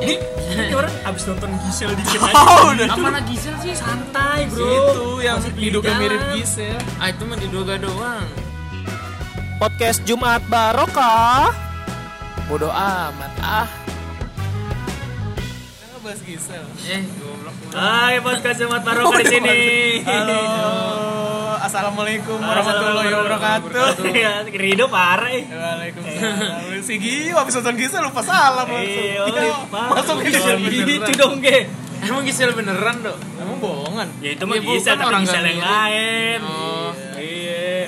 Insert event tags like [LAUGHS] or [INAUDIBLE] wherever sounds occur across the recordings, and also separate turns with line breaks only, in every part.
Ini, ini orang abis nonton Gisel [LAUGHS] dikit aja.
Oh, udah.
Apa anak Gisel sih?
Santai bro.
Itu yang
Masih beli
hidupnya
jalan.
mirip Gisel.
Ah itu mah diduga doang. [LAUGHS]
Podcast Jumat Barokah. Bodoh amat ah. Bahas Gisel.
Eh goblok.
Hai podcast Jumat Barokah di sini. [LAUGHS]
Halo. Assalamualaikum warahmatullahi
Assalamualaikum
wabarakatuh.
Iya, Rido parah. eh.
Waalaikumsalam. Si Gio habis nonton Gisel lupa salam
Iya,
langsung. Dia Masuk ke
Gisel
Gisel.
gitu dong ge.
Emang Gisel beneran dok?
Emang bohongan.
Ya itu mah
Iya, bukan
Gisel tapi
orang
Gisel yang
nggak
lain.
Oh. Iya,
Iya.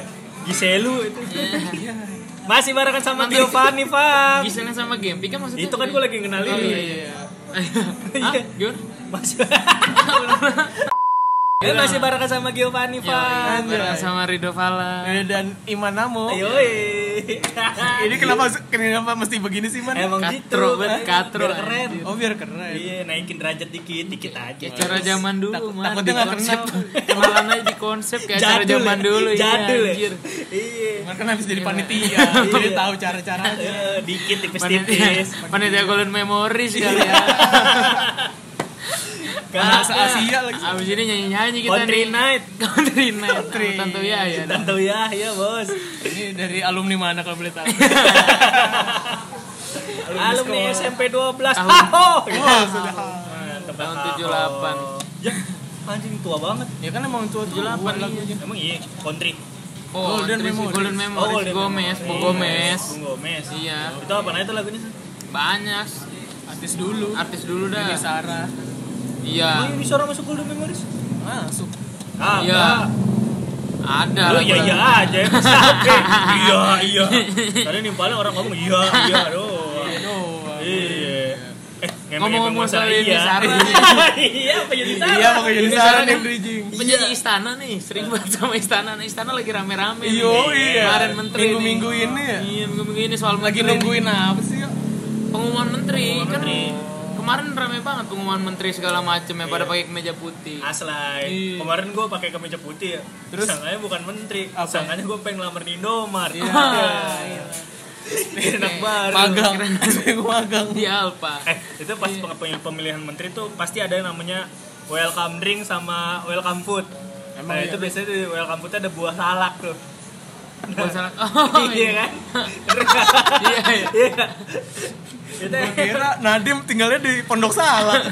Giselu itu. Masih barengan sama Tio Fanny, Fam.
Giselnya sama Gempi kan maksudnya?
Itu kan gue lagi kenalin.
Oh iya iya. iya. Hah? Gimana?
Masih. [LAUGHS] Eh, masih barengan sama Giovanni,
Iya,
Fam.
Bareng sama Rido Fala.
Eh, Dan Imanamo.
Iya. [LAUGHS] Yoi.
Ini kenapa kenapa mesti begini sih, Man?
Emang
Katro,
gitu.
bet,
Biar
katro,
keren.
Oh, biar keren.
Iya, naikin derajat dikit, dikit aja.
Kayak cara zaman dulu
Takut-
mah.
takutnya
Di
nggak
konsep. [LAUGHS]
kenal.
Kenalan aja di konsep kayak cara
Jadul ya,
zaman dulu. iya,
Jadul. ya.
anjir.
Iya.
Man kan habis jadi
[LAUGHS]
panitia, jadi tahu cara-caranya.
Eh, dikit
[LAUGHS]
tipis-tipis.
Panitia, panitia golden memori sekali ya.
Karena
Bahasa Asia lagi.
Abis ini nyanyi-nyanyi kita
Country
nih.
night.
Country night.
Country.
Sama Tanto ya ya.
Tentu ya, ya
[LAUGHS]
bos.
Ini dari alumni mana kalau boleh tahu?
Iya. Alumni
sekolah.
SMP 12.
Tahun-
[LAUGHS] Haho.
Oh, sudah.
[LAUGHS] Tahun 78.
Ya, anjing tua banget.
Ya kan emang tua 78 lagunya.
Emang iya, country.
Oh, Golden
Golden
Memories.
Memories.
Golden Memories.
Oh, Golden
Gomez,
Memory.
Bo Gomez.
Bo Gomez.
Iya,
Itu apa Nah, itu lagunya? San?
banyak
Artis dulu.
artis dulu
Ini
dah.
Sarah.
Oh,
Iya,
ini suara masuk Golden Memories.
Masuk.
Ah,
Iya.
enggak.
ada.
Oh,
Lu
lagu-
iya iya aja ya, capek. Iya iya. Tadi nih paling orang ngomong iya iya doang.
Aduh.
Iya. Eh,
Ngomong-ngomong soal ini,
Sarah.
Sarah.
[LAUGHS] Iya, apa jadi Sarah?
Iya, pakai jadi
Ini
Sarah
Sarah
nih
kan-
bridging.
Penyanyi istana nih, sering banget sama istana. Nah, istana lagi rame-rame. nih.
Yo, iya.
Kemarin menteri. nih.
Minggu-minggu ini ya.
Iya, minggu-minggu ini soal menteri
Lagi
nih.
nungguin apa sih? yuk?
pengumuman menteri
Pengumuman
kan
menteri.
kemarin rame banget pengumuman menteri segala macem ya pada pakai kemeja putih
Aslay.
Iya.
Kemarin gue pakai kemeja putih ya.
Terus?
Terus sangkanya bukan menteri,
Apa?
sangkanya gue pengen lamar di Indomaret.
Iya.
Biar [LAUGHS] Enak
Iya.
banget.
Magang. Gue magang.
[LAUGHS] di Alfa
Eh, itu pas
Iya.
pemilihan, pemilihan menteri tuh pasti ada yang namanya welcome drink sama welcome food.
Emang
nah,
iya?
itu biasanya di welcome foodnya ada buah salak tuh.
Bukan
[LAUGHS]
salah oh
[LAUGHS] iya
iya [LAUGHS]
kan? Terus-
iya iya.
Iya. Itu ya.
Gua kira Nadim tinggalnya di Pondok Salak.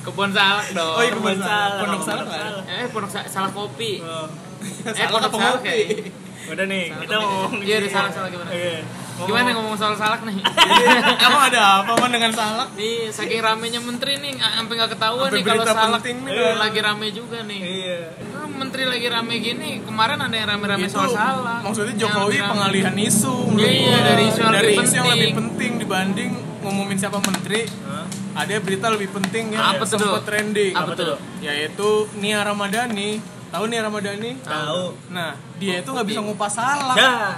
kebun salak dong
Oh, iya, kebun
Pondok salak.
Pondok salak
Pondok
nggak ada?
salak.
eh pondok sa- salak kopi
Oh.
eh
Salak
pondok
apa
salak
kopi?
ya
Udah nih,
Salak
kita
apa?
ngomong.
Iya, udah salak, salak gimana?
Iya.
Oh.
gimana ngomong soal salak nih
Iya, Emang ada apa man dengan salak?
nih saking ramenya menteri nih nggak- sampai nggak ketahuan
Sampai
nih kalau
berita
salak
penting nih,
eh,
Bang.
lagi rame juga nih
Iya.
Kan menteri lagi rame gini kemarin ada yang rame-rame
Itu
soal salak
maksudnya
Yang
Jokowi
rame-rame.
pengalihan isu menurut
Iya,
gua.
dari isu yang
Dari
lebih
isu yang
penting.
lebih penting dibanding ngumumin siapa menteri
Hah?
ada berita lebih penting yang
Apa tuh,
sempat
Dok?
trending
Apa tuh, Dok?
yaitu Nia Ramadhani tahu Nia Ramadhani
Tahu.
nah dia itu nggak bisa ngupas salah
Dah.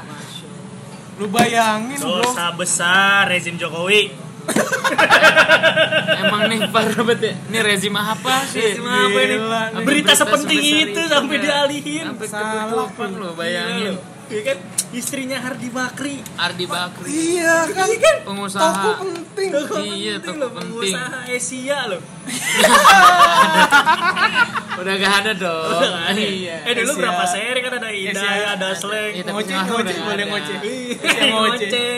lu bayangin bro
Dosa besar rezim Jokowi.
Iya, Emang nih parah banget ya. Ini rezim apa sih?
Rezim apa ini?
Eh, Gila nih.
Berita sepenting
sebesar
itu sampai
iya.
dialihin.
Sampai
Salah.
kebetulan lo bayangin.
Iya kan istrinya Hardi Bakri.
Ardi Bakri
iya kan
pengusaha.
toko penting
Toko
Iya,
penting
toko
loh,
penting.
pengusaha Asia loh.
Udah gak ada dong. Iya.
Eh dulu
Asia.
berapa seri kan ada
Asia.
Indah, ada Slang.
Iya, tapi
ngoceh
pengaruh
ngoceh
udah
boleh
ada.
ngoceh
Iya,
ngoceh.
ngoceh.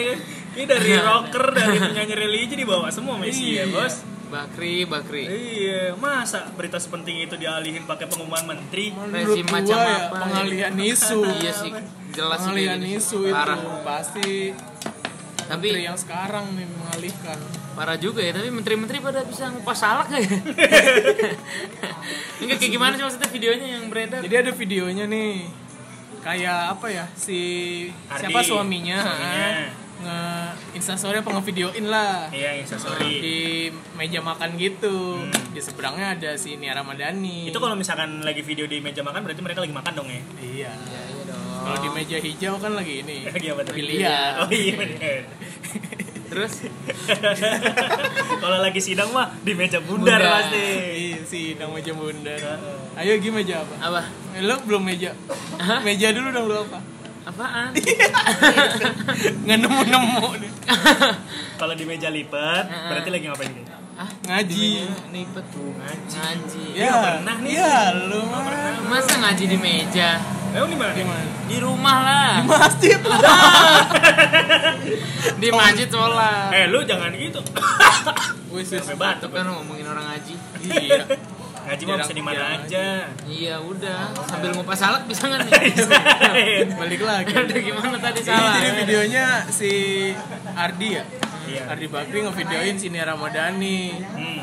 Ini dari rocker, dari penyanyi religi dibawa semua Messi ya,
Iya.
Bos.
Bakri, Bakri.
Iya, masa berita sepenting itu dialihin pakai pengumuman menteri?
menurut
Rezim
gua
macam
ya
apa?
pengalihan [LAUGHS] isu
Iya sih, jelas sih kayak
pengalihan
gini
isu
sih.
itu
Parah.
pasti
Tapi
menteri yang sekarang nih mengalihkan
parah juga ya, tapi menteri-menteri pada bisa ngupas salak ya.
[LAUGHS]
Enggak kayak gimana sih maksudnya videonya yang beredar?
jadi ada videonya nih kayak apa ya si
Ardi.
siapa suaminya,
Suaminya.
ah, nge instastory apa ngevideoin lah
Iya, sorry.
di meja makan gitu di seberangnya ada si Nia Ramadhani
Itu kalau misalkan lagi video di meja makan berarti mereka lagi makan dong ya. [LAUGHS]
iya
Oh.
kalau di meja hijau kan lagi ini
Lagi apa tadi?
biliar
Iya, Oh iya bener. [LAUGHS]
Terus
Kalau lagi sidang mah di meja bundar
Bundar.
pasti. Iya.
Iya sih, dang meja bundar. Ayo Gi meja apa?
apa?
Eh, Lo belum meja. Meja dulu dong lu apa?
Apaan?
Nggak nemu-nemu nih.
Kalau di meja lipat,
Heeh.
berarti lagi ngapain gitu?
ah
Ngaji.
nih betul ngaji ngaji
Nggak pernah nih.
Iya, lu mah.
masa ngaji di meja
Emang Eh, di mana?
Di mana?
di rumah lah
Masjid lah.
di masjid sholat
Eh, lu jangan
[LAUGHS]
gitu.
Wis wis.
Sampai
itu
batuk.
kan ngomongin orang ngaji
Iya.
Ngaji mah bisa di mana
Jarang-
aja.
iya udah sambil ngupas salak bisa nggak
[LAUGHS]
nih
Balik lagi.
Aduh, gimana tadi
Iya. Ini
salah ya?
jadi videonya si Ardi ya.
Iya.
Ardi Bakri ngevideoin si Nia Ramadhani
Hmm.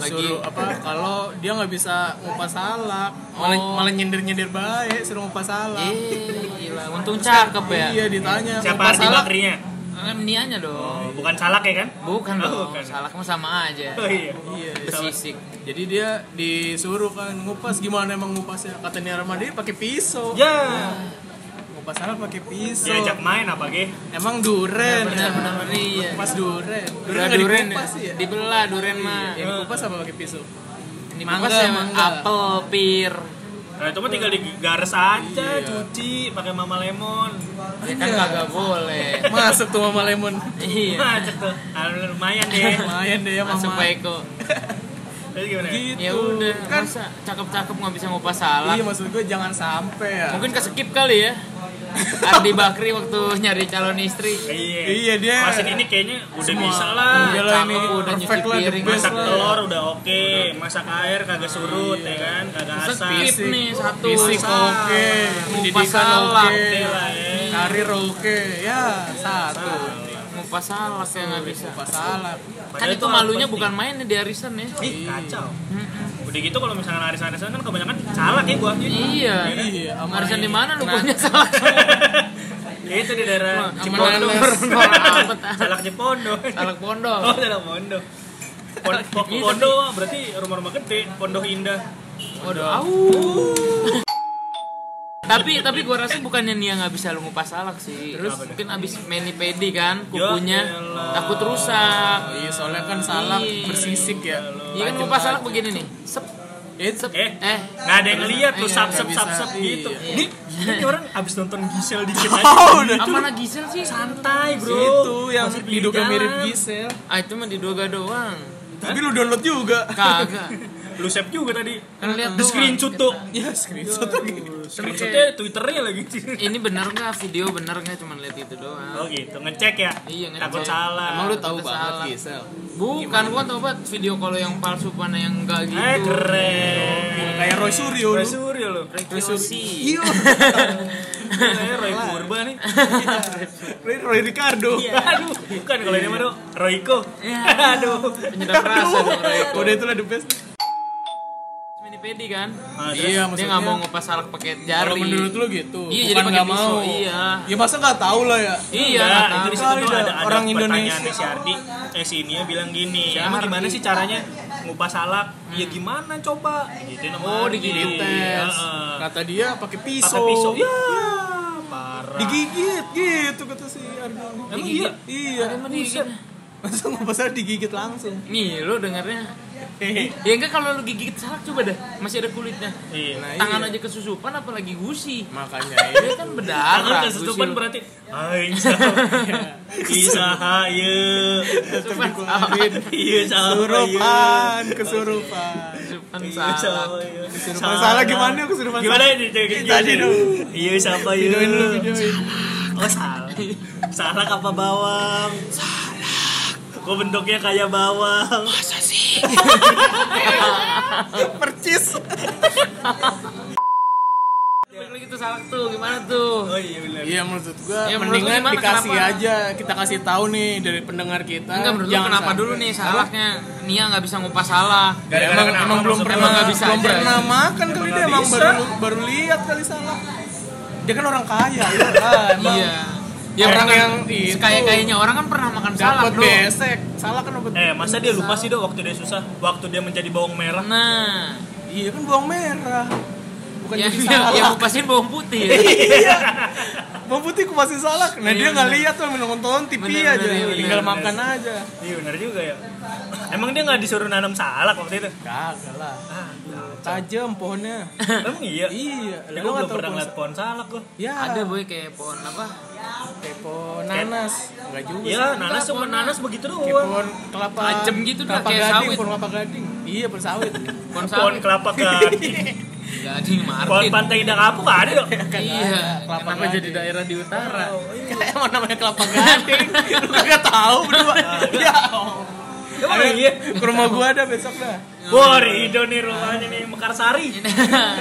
Lagi-
suruh apa kalau dia nggak bisa ngupas salak malah,
Oh.
malah nyindir nyindir baik suruh ngupas salak
Eh, gila. Untung cakep ya.
iya ditanya
Siapa
ngupas
Ardi
salak
Bakrinya?
Kan nianya dong.
Bukan salak ya kan? Oh,
Bukan dong.
bukan.
Salah kamu sama aja.
Oh iya.
iya
Sama-
Besisik.
jadi dia disuruh kan ngupas gimana emang ngupasnya kata Nia Ramadhani pakai pisau
Ya.
ngupas salak pakai pisau
Diajak Ya, main apa, Ge?
emang duren
Benar benar benar iya.
pas duren
Udah
nggak
duren ya. Iya.
dikupas ya
Dibelah duren mah.
yang dikupas apa pakai pisau
Ini
Mangga,
mangga,
mangga.
apel, pir.
Nah, itu mah tinggal digares aja,
Iya.
cuci pakai mama lemon.
Ya kan kagak boleh.
masuk tuh mama lemon
Iya.
Macet Nah, tuh. Alhamdulillah, lumayan
[LAUGHS]
deh.
lumayan deh ya mama
Masuk Eko.
Terus gimana?
gitu
Ya udah,
kan
masa cakep-cakep nggak bisa ngupas salak.
iya maksud gue jangan sampai ya
Mungkin keskip kali
[LAUGHS]
ya. Ardi Bakri waktu nyari calon istri.
Iya.
Iya, dia-
Masin ini kayaknya udah bisa lah.
udah lah ini
Cakep, udah
Ah, perfect
nyuci
lah the
piring,
best
Masak
lah
telur udah oke, masak air kagak surut ya kan, kagak asam.
Skip nih satu.
fisik
Masa.
oke pendidikan
salak.
oke
Oke lah, ya.
karir oke ya satu
Ngupas salak ya nggak bisa.
apa salah
Padahal
Kan itu
hal
malunya
penting.
bukan main di arisan ya.
Ih,
Hmm.
kacau. Udah gitu kalau misalkan arisan-arisan kan kebanyakan salak ya gua. [LAUGHS]
Iya.
Iya, sama
Arisan
ini.
di mana lupanya
[LAUGHS]
salak semua.
Ya itu di daerah Cipondo.
Cipondo.
[LAUGHS]
Salak
Salak Cipondo. [LAUGHS]
Salak
[LAUGHS]
pondok.
Oh, salak Pondo. Pon-
Gitu
Iya,
Pondo mah berarti rumah-rumah gede, Pondo Indah.
Waduh. au. tapi tapi gua rasa bukannya dia nggak bisa lu ngupas salak sih. Terus
Apa deh?
mungkin abis mani pedi kan kukunya
elah.
takut rusak.
iya soalnya kan salak
Iya.
bersisik ya
Iya kan ngupas salak begini nih. Sep.
it's
Eh,
Eh.
nggak ada yang lihat lu
Iya,
sap sap
nggak
sap
bisa.
sap
Iya.
gitu.
Iya.
Ini ini orang abis nonton Gisel
[LAUGHS]
dikit
Oh,
aja.
udah.
Apa lagi Gisel sih?
Santai, Bro.
itu yang
Masih pilih
diduga
jalan.
mirip Gisel
Ah itu mah diduga doang.
tapi lu download juga
Kagak.
Lu save juga tadi.
Kan lihat
Di
doang.
screenshot tuh. [LAUGHS]
ya screenshot lagi
Screenshotnya Twitternya lagi. [LAUGHS]
Ini bener nggak video bener nggak cuma lihat itu doang.
Oh gitu, ngecek ya.
Iya, ngecek.
Takut salah.
emang lu tahu
Kita
banget
salah.
Gisel
Bukan gua tau banget video kalau yang palsu mana yang enggak gitu.
Oh, Eh keren.
kayak Roy Suryo
Roy
lu
Suryo lu. [LAUGHS]
Rekreasi.
Iya,
Kayak Eh, Roy Purba nih.
Roy, Roy Ricardo.
Aduh, bukan kalau ini mah Royko.
Iya.
[LAUGHS] Aduh.
Penyedap rasa dong Royko.
Udah Oh, itulah the best.
Mini pedi kan.
Nah, terus
Dia
Iya, maksudnya
nggak mau ngupas salak pakai jari.
Kalau menurut lu gitu,
Iya,
bukan
jadi pakai
nggak
pisau,
mau.
iya.
Ya masa nggak tahu lah ya.
Iya,
Enggak,
nggak
itu
tahu.
di situ
Kali
tuh
dah,
ada, ada
orang
pertanyaannya
Indonesia.
si Ardi eh si Nia bilang gini
Si
emang
Ardi.
gimana sih caranya ngupas salak ya gimana coba gitu nama
Oh,
Ardi.
digigites.
Heeh.
Kata dia pakai
pakai
pisau. Iya.
pisau ya parah
Digigit gitu kata si Ardi.
Emang iya?
Iya.
Ada emang digigit.
Masa nggak pasal digigit langsung.
Nih, lu dengernya. Ya enggak kalau lu gigit salak coba dah, masih ada kulitnya.
iya
Nah,
Tangan
iya.
aja kesusupan apalagi gusi.
Makanya
[LAUGHS] Dia kan
Tangan
berdarah.
kesusupan
gusi lu.
berarti Aing ya."
[LAUGHS]
Isaha Iya
Kesusupan salak.
Kemarin
Iya salah
kesurupan, kesurupan.
Kesusupan
Iya
salak.
salah iya.
Kesurupan salah gimana? Kesurupan
Gimana
salah.
ini jadi
Tadi dong.
Iya siapa iya
Videoin dulu videoin.
Oh salah Salah apa bawang? Salah Kok bentuknya kayak bawang?
Percis.
Balik lagi tuh salak tuh, gimana tuh?
Oh iya bener
Iya menurut gua
Ya, menurut lu
mendingan
gimana,
dikasih
kenapa?
aja kita kasih tahu nih dari pendengar kita.
Enggak menurut lu
Jangan
kenapa
sampai-
dulu nih salaknya? Nia nggak bisa ngupas salak.
Ya,
Gara-gara
emang
kenapa
emang belum
maksudnya?
pernah
Emang nggak bisa
Nah, belum
aja.
pernah makan kali
Emang
dia
nggak
emang
bisa.
baru baru lihat kali salah. Dia kan orang kaya ya kan. Emang
Iya. Dia
Orang
orang yang
yang itu.
kayak kayaknya orang kan pernah makan salak,
dapat
Bro.
besek. Salah kan obat.
Eh masa dia lupa sih dok waktu dia susah Waktu dia menjadi bawang merah
Nah,
Iya kan bawang merah. bukan Iya.
yang,
jadi
yang,
salah.
yang ngupasin bawang
[LAUGHS]
putih ya.
Bawang putih kupasin salak.
Iya,
Nah dia nggak
bener.
lihat tuh nonton TV
Bener,
aja.
bener, iya,
Tinggal
bener.
makan aja.
Iya bener juga ya. Emang dia nggak disuruh nanam salak waktu itu?
Kagak lah.
Ah,
Tajam
[LAUGHS]
pohonnya.
emang iya.
iya.
Ya,
Lah,
gue belum
Lu nggak tahu
pernah
pohon
ngeliat pohon salak loh.
Ya.
Ada boy kayak pohon apa?
Kayak pohon nanas. Enggak juga. sih.
Iya, nanas
Enggak,
cuma
pohon-
nanas begitu
Kayak
doang.
pohon kelapa.
Tajam gitu dah,
kelapa
kayak
gading,
sawit.
Pohon kelapa gading. Iya, pohon [LAUGHS] sawit.
Pohon
Pohon
sawit.
kelapa
[LAUGHS]
gading,
Gading
pohon
Martin.
pantai indah kapuk nggak ada dong.
Iya.
Kelapa
Kenapa
gading. Oh,
jadi daerah di utara?
Emang namanya kelapa gading. [LAUGHS] Lu kagak tahu berdua. [LAUGHS] Ya. Allah.
Emang iya.
Ke rumah gua ada besok dah.
Wah, Rido nih rumahnya nih Mekarsari.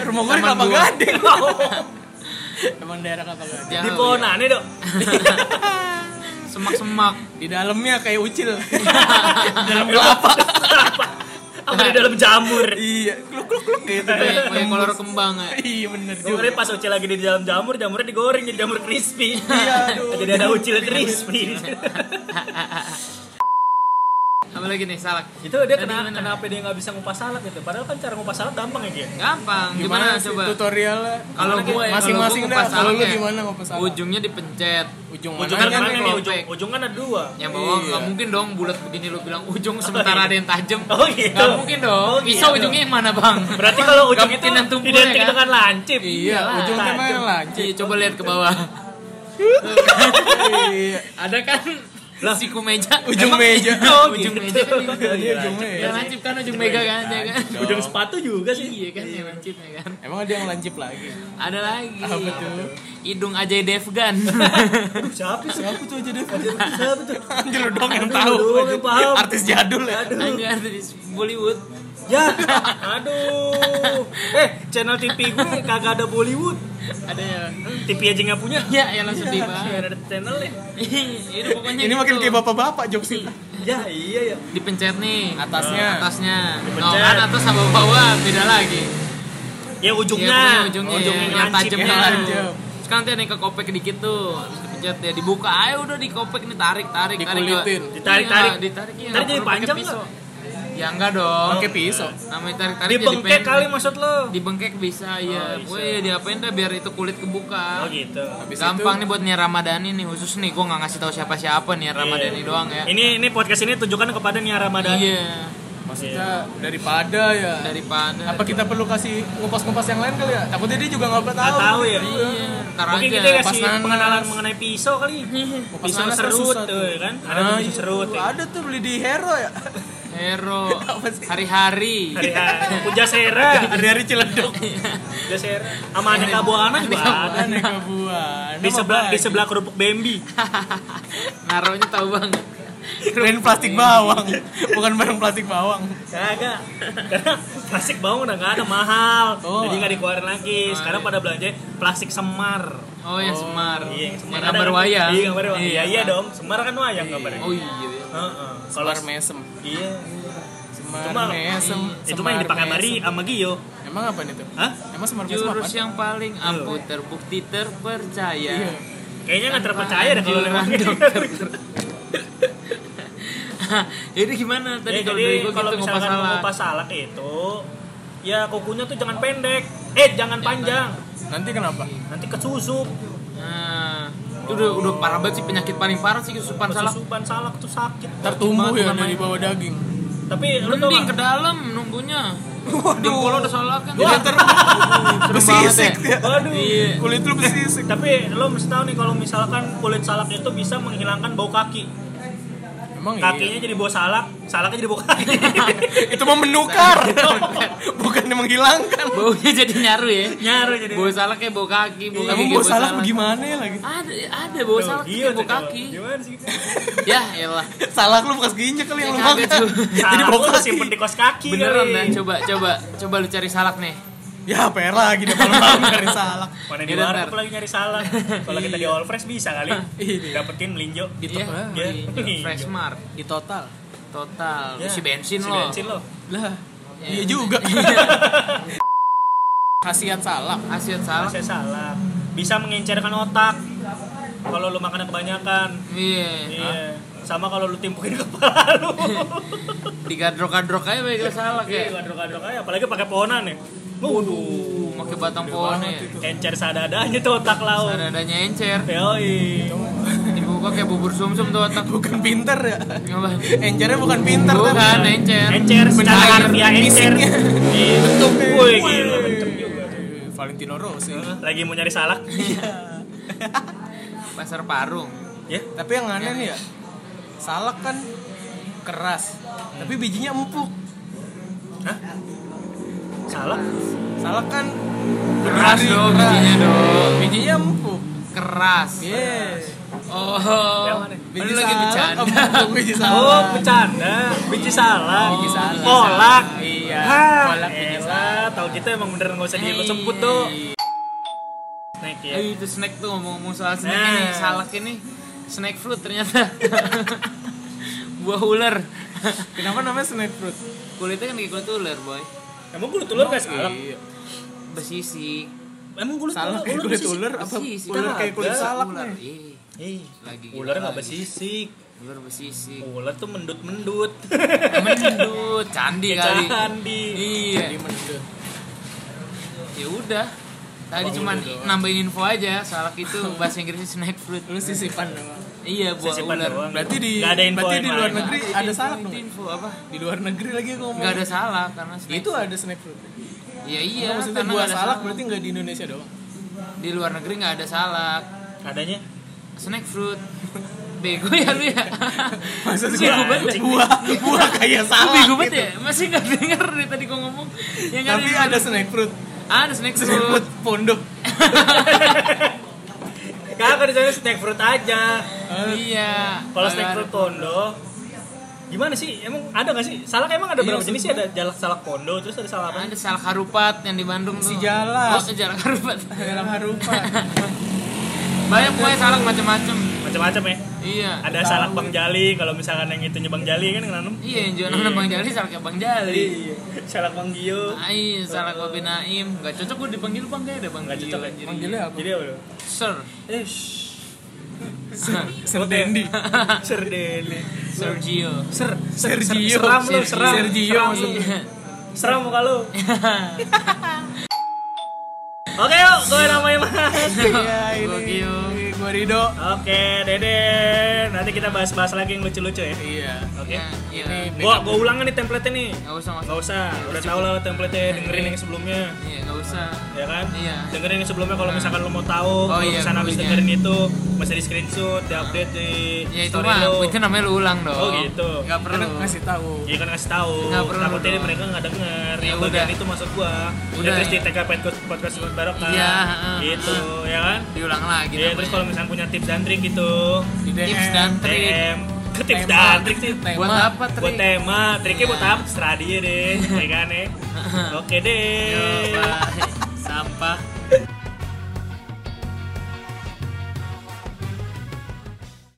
Rumah Nah, gua
Taman
di kelapa
gua.
gading. Iya. Emang daerah kelapa gading.
Di
Jauh,
pohon
ya.
aneh dong.
Semak-semak.
Di dalamnya kayak ucil. Di dalam
[LAUGHS]
kelapa.
Apa? Apa di dalam jamur?
[LAUGHS] Iya, kluk kluk kluk gitu.
Kayak
[LAUGHS]
kayak kolor kembang ya.
Iya bener
Gue
juga.
kira pas ucil lagi di dalam jamur, jamurnya digoreng jadi jamur crispy.
Iya, aduh. Iya.
Jadi ada ucil crispy.
Apa lagi nih salak?
itu dia
Tadi
kena,
gimana?
kenapa dia nggak bisa ngupas salak gitu? Padahal kan cara ngupas salak gampang ya dia.
Gampang. Gimana,
Gimana, sih
coba?
tutorialnya?
Kalau
Gimana,
gue
Ki?
ya,
Masing-masing
kalau
dah.
gua kupas
Kalau lu
salaknya,
gimana ngupas salak?
Ujungnya dipencet.
Ujung
Ujung
mana
kan
kan
mana nih?
kelopak.
Ujung, ujung kan ada dua.
Yang bawah
Iya.
nggak mungkin dong bulat begini lu bilang
[LAUGHS]
ujung sementara ada yang tajam.
Oh gitu.
Nggak mungkin dong.
Oh,
Pisau
gitu.
ujungnya yang mana bang?
Berarti kalau ujung
Nggak
itu
mungkinan tumpul ya,
identik
kan?
dengan lancip.
Iya,
Iyalah.
ujung kan mana lanjut.
Iya, coba lihat ke bawah.
Iya.
Ada kan siku meja.
Ujung meja.
[LAUGHS] Oh,
ujung
gitu.
meja kan gitu.
Iya, ujung meja.
Yang lancip kan ujung mega kan ya kan.
Ujung sepatu juga sih.
Iya kan yang lancip ya kan.
Emang ada yang lancip lagi?
Ada lagi.
Apa tuh?
Hidung Ajay Devgan.
Aduh, siapa sih?
Siapa tuh aja deh?
Siapa tuh?
[LAUGHS] Anjir lu dong yang
Anjir,
tahu.
lu doang yang paham.
Artis jadul ya.
Anjir dari Bollywood.
Ya, aduh. Eh, channel TV gue kagak ada Bollywood.
Ada ya.
TV aja nggak punya.
Ya, ya langsung tiba.
Nggak ada ya. channelnya.
Ini pokoknya
Ini makin
gitu.
kayak bapak-bapak jokes ini.
Ya, iya ya.
dipencet nih
Atasnya.
atasnya no
Dipencet.
kan atas sama bawah beda lagi
Ya
Iya,
ujungnya.
pokoknya ujungnya,
ujungnya
yang,
lancip.
tajamnya
yang
tuh.
tajam.
terus kan nanti ada yang kekopek dikit tuh terus dipencet ya dibuka ayo udah dikopek nih tarik tarik
Dikulitin.
tarik
Ditarik,
Iya,
tarik.
ditarik ya
Ntar jadi panjang nggak?
ya enggak dong
Oh.
Pakai pisau.
namanya tarik tarik
Dibengkek kali maksud lo.
dibengkek bisa ya
bisa.
gue ya diapain dah biar itu kulit kebuka
Oh gitu.
Habis
gampang nih buat nih Ramadhani nih khusus nih gue nggak ngasih tahu siapa siapa nih Ramadhani
Iya.
doang ya
Ini ini podcast ini tujukan kepada Nia Ramadhani.
iya
itu maksudnya daripada ya.
daripada
Apa kita perlu kasih ngupas-ngupas yang lain kali ya? Takutnya dia juga nggak tahu.
Nggak tahu ya.
Iya, ntar
Mungkin
aja.
kita
pas
kasih
nanas.
pengenalan mengenai pisau kali.
Kupas
Pisau
nanas kan
serut
susah
tuh, ya kan? Ada
Nah,
pisau
iya.
serut. ya.
Ada tuh beli di Hero
[LAUGHS]
ya.
Hero.
Apa sih?
Hari-hari.
Hari-hari. Puja Sera.
Hari-hari Ciledug.
Puja Sera. Sama aneka buah anak juga ada.
Aneka buah. ya?
Di sebelah di sebelah kerupuk Bambi.
[LAUGHS] Naruhnya tahu banget.
Keren plastik bawang, bukan barang plastik bawang.
Kagak. Karena plastik bawang udah nggak ada mahal.
Oh.
Jadi nggak dikeluarin lagi. Sekarang pada belanja plastik semar.
Oh, yang Semar.
Iya, yang
Yang
semar.
gambar
Ada-
wayang.
Iya, gambar wayang. Iya,
Iya.
iya dong. Semar kan wayang gambarnya.
Oh iya. iya.
Heeh. Kalau
Semar mesem.
iya.
Semar
Itu mah-
mesem.
Itu mah yang
Semar
dipakai
mesem.
Mari sama Gio.
Emang apa nih tuh?
Hah?
Emang semar mesem apa?
ya.
Jurus yang paling ampuh terbukti terpercaya.
Iya.
Kayaknya nggak terpercaya deh kalau lewat
Anjuran [LAUGHS]
[LAUGHS]
Jadi gimana tadi
Jadi
kalau
Ya, jadi
dari gua
kalau
gitu ngupas
misalkan
salah?
ngupas salak itu ya kukunya tuh jangan pendek. Eh, jangan panjang.
Nanti kenapa?
Nanti kesusup.
Nah, itu udah udah parah banget sih penyakit paling parah sih kesusupan salah.
Kesusupan salak tuh sakit.
Tertumbuh
banget
ya
bukan
dari
main.
bawah daging.
Tapi lu tau
Mending
nggak?
ke dalam nunggunya. Di
Waduh.
kalau udah salah kan.
Jadi ntar
Ah,
besisik
ya.
dia.
Waduh.
Iya.
Kulit lu besisik.
Tapi lo mesti tahu nih kalau misalkan kulit salak itu bisa menghilangkan bau kaki.
Emang iya.
Kakinya jadi bau salak, salaknya jadi bau kaki.
Itu mau menukar. [LAUGHS] bukan menghilangkan.
Baunya jadi nyaru ya.
Nyaru jadi.
Bau salah kayak bau kaki, bau kaki
Iya. Emang
kayak gitu,
bau salah gimana ya lagi?
Ada ada bau salah
iya,
kayak bau kaki.
Gimana sih?
Ya elah.
Salah lu bekas ginjal kali yang lu
Ya,
makan.
kagak, cuy.
[LAUGHS] Jadi bau kaki.
simpen di kos kaki.
Beneran
kali.
ya, coba coba coba lu cari salak nih.
Ya pera lagi deh malam dari salak.
Mana di
Iya,
warung
ntar.
lagi nyari salak. Kalau kita di all fresh bisa
[LAUGHS]
kali.
Iya.
Dapetin melinjo.
Di
Iya,
total.
Iya.
di Fresh Mart
Di total.
total
Ya,
Iya, si bensin
si
loh.
bensin lo.
Lah,
Iya.
iya juga. [LAUGHS] Kasihan salak.
Asian salak.
Saya salah. Bisa mengencerkan otak. Kalau lu makannya kebanyakan.
Iya.
Iya. Sama kalau lu timpukin [LAUGHS] kepala
[LAUGHS]
lu.
Digadrok-gadrok aja baik salak
Iya,
ya.
kadrok-kadrok aja apalagi pakai pohonan ya. Waduh.
pakai batang
Gede
pohonnya
banget
ya.
itu.
encer sadadanya tuh otak laut
Ada adanya encer.
yoi
Dibuka kayak bubur sumsum tuh otak.
Bukan pinter ya.
Apa?
Encernya bukan pinter
Bukan
tapi
encer.
encer secara
Benar.
harfiah encer
Fisiknya.
Ya, Iya.
bentuknya.
Woi, gila, bentuk juga.
Valentino Rossi.
lagi mau nyari salak
Pasar Parung.
ya
Tapi yang aneh nih ya, salak kan keras, tapi bijinya empuk.
salak
Salak kan
Keras
berduri,
dong
keras.
bijinya dong.
Bijinya empuk.
Keras.
Yes.
Oh.
Yang
Yang
mana?
Biji
lagi
salak
bercanda.
empuk, biji salak.
oh bercanda biji salak
Oh, Biji salak.
kolak
Iya,
Hah,
kolak biji
elah,
salak. Iya.
tahu kita emang beneran nggak usah diikut semput tuh naik ya
Eh, itu snack tuh ngomong-ngomong soal snack
Nah.
ini, salak ini snack fruit ternyata. [LAUGHS] Buah ular. [LAUGHS]
Kenapa namanya snack fruit?
Kulitnya kan kayak kulit ular, boy.
emang kulit ular nggak salak
Iya.
Besisik.
emang kulit
Salak
ular
kayak
Oh, ular
kulit
bersisik?
ular apa?
Besisik.
Ular kayak kulit
Ada
salak
ular.
nih.
Iya.
Ih,
Lagi
ular
gila
nggak
lagi.
bersisik
Ular besisik.
ular tuh mendut mendut [LAUGHS]
Mendut, candi kali.
candi
Iya.
Iya, Jadi mendut.
Ya udah. Tadi
Bang
cuman
udah doang.
nambahin info aja, salak itu bahasa Inggrisnya snack fruit.
Lu sisipan doang.
Iya, buah
Sisipan
ular.
doang.
Berarti di
Nggak ada info
berarti
yang
di luar
lain.
negeri
Itu
ada
info,
salak
itu
dong.
info apa?
Di luar negeri lagi ngomong.
Gak ada salak karena snack.
Itu ada snack fruit.
Ya
Iya,
iya,
maksudnya
karena
buah
nggak ada
salak berarti nggak di Indonesia doang.
di luar negeri nggak ada salak
adanya
snack fruit bego ya lu ya
Maksud
Lu
gua
bego banget ya?
buah [LAUGHS] buah kayak
Lu
salak. gitu.
bego banget ya masih nggak denger nih tadi gua ngomong yang nggak
Tapi
denger.
ada snack fruit.
ada snack
Snack
fruit
fruit pondok.
kagak di sana snack fruit aja
iya
Kalau snack fruit kondo gimana sih? Emang ada nggak sih? Salak emang ada
Iya,
berapa
maksud
jenis sih? Ada jalak salak kondo, terus ada salak apa?
ada salak harupat yang di Bandung
Si
tuh
Jalak.
oh jalak harupat
Dalam harupa.
banyak pokoknya salak macam-macam
Macam-macam ya.
iya
Ada salak Bang Jali, kalau misalkan yang itunya Bang Jali kan yang nanam.
iya yang jualan sama bang Jali salaknya bang Jali
salak Bang Gio.
Ay, salak babi Naim nggak cocok gua dipanggil bang gak ada bang
Nggak
Gio,
cocok ya?
anjir.
Manggilnya [LAUGHS] apa?
Jadi apa dong?
sir
Eh,
Sir Dendi.
Serdele.
Sergio
Ah. Ser, ser, ser,
Sergio.
seram lu, seram.
Sergio
seram, lu.
maksudnya.
iya.
seram muka lu. Oke yuk, gue namanya Mas.
Iya,
Gua
ini.
Gio.
Gua Rido.
Oke, Dede. Nanti kita bahas-bahas lagi yang lucu-lucu ya.
Iya.
Oke.
Ya, iya.
Ini-
Gua gua ulang nih template nih.
Nggak usah nggak
Gak usah, udah tau lah template-nya, dengerin yang sebelumnya
Iya, nggak usah.
Ya kan?
Iya.
Dengerin yang sebelumnya kalau misalkan lo mau tahu,
Oh
kalau
iya,
misalkan habis
dulunya.
dengerin itu Masih di screenshot, di update di
Ya itu
story
mah,
lo
itu namanya lu ulang dong.
Oh gitu
Nggak perlu.
Kan ngasih tahu.
Iya kan ngasih tahu,
Nggak perlu
takutnya
dong.
mereka nggak denger
Ya
Yang bagian
udah.
itu maksud gua
Udah,
Ya terus
ya.
di TKP Podcast- Podcast Barokah
Iya, heeh, Gitu,
Gitu, ya kan?
Diulang lagi.
Iya, terus kalau
namanya.
misalkan punya tips dan trik gitu
Di DM.
tips dan trik.
DM Ke [LAUGHS] tips
Tema.
dan trik sih
Tema.
Buat apa
buat
trik?
tema, triknya buat
Iya. [LAUGHS]
apa terserah dia deh, ya kan ya. Oke deh.
Yo, bye.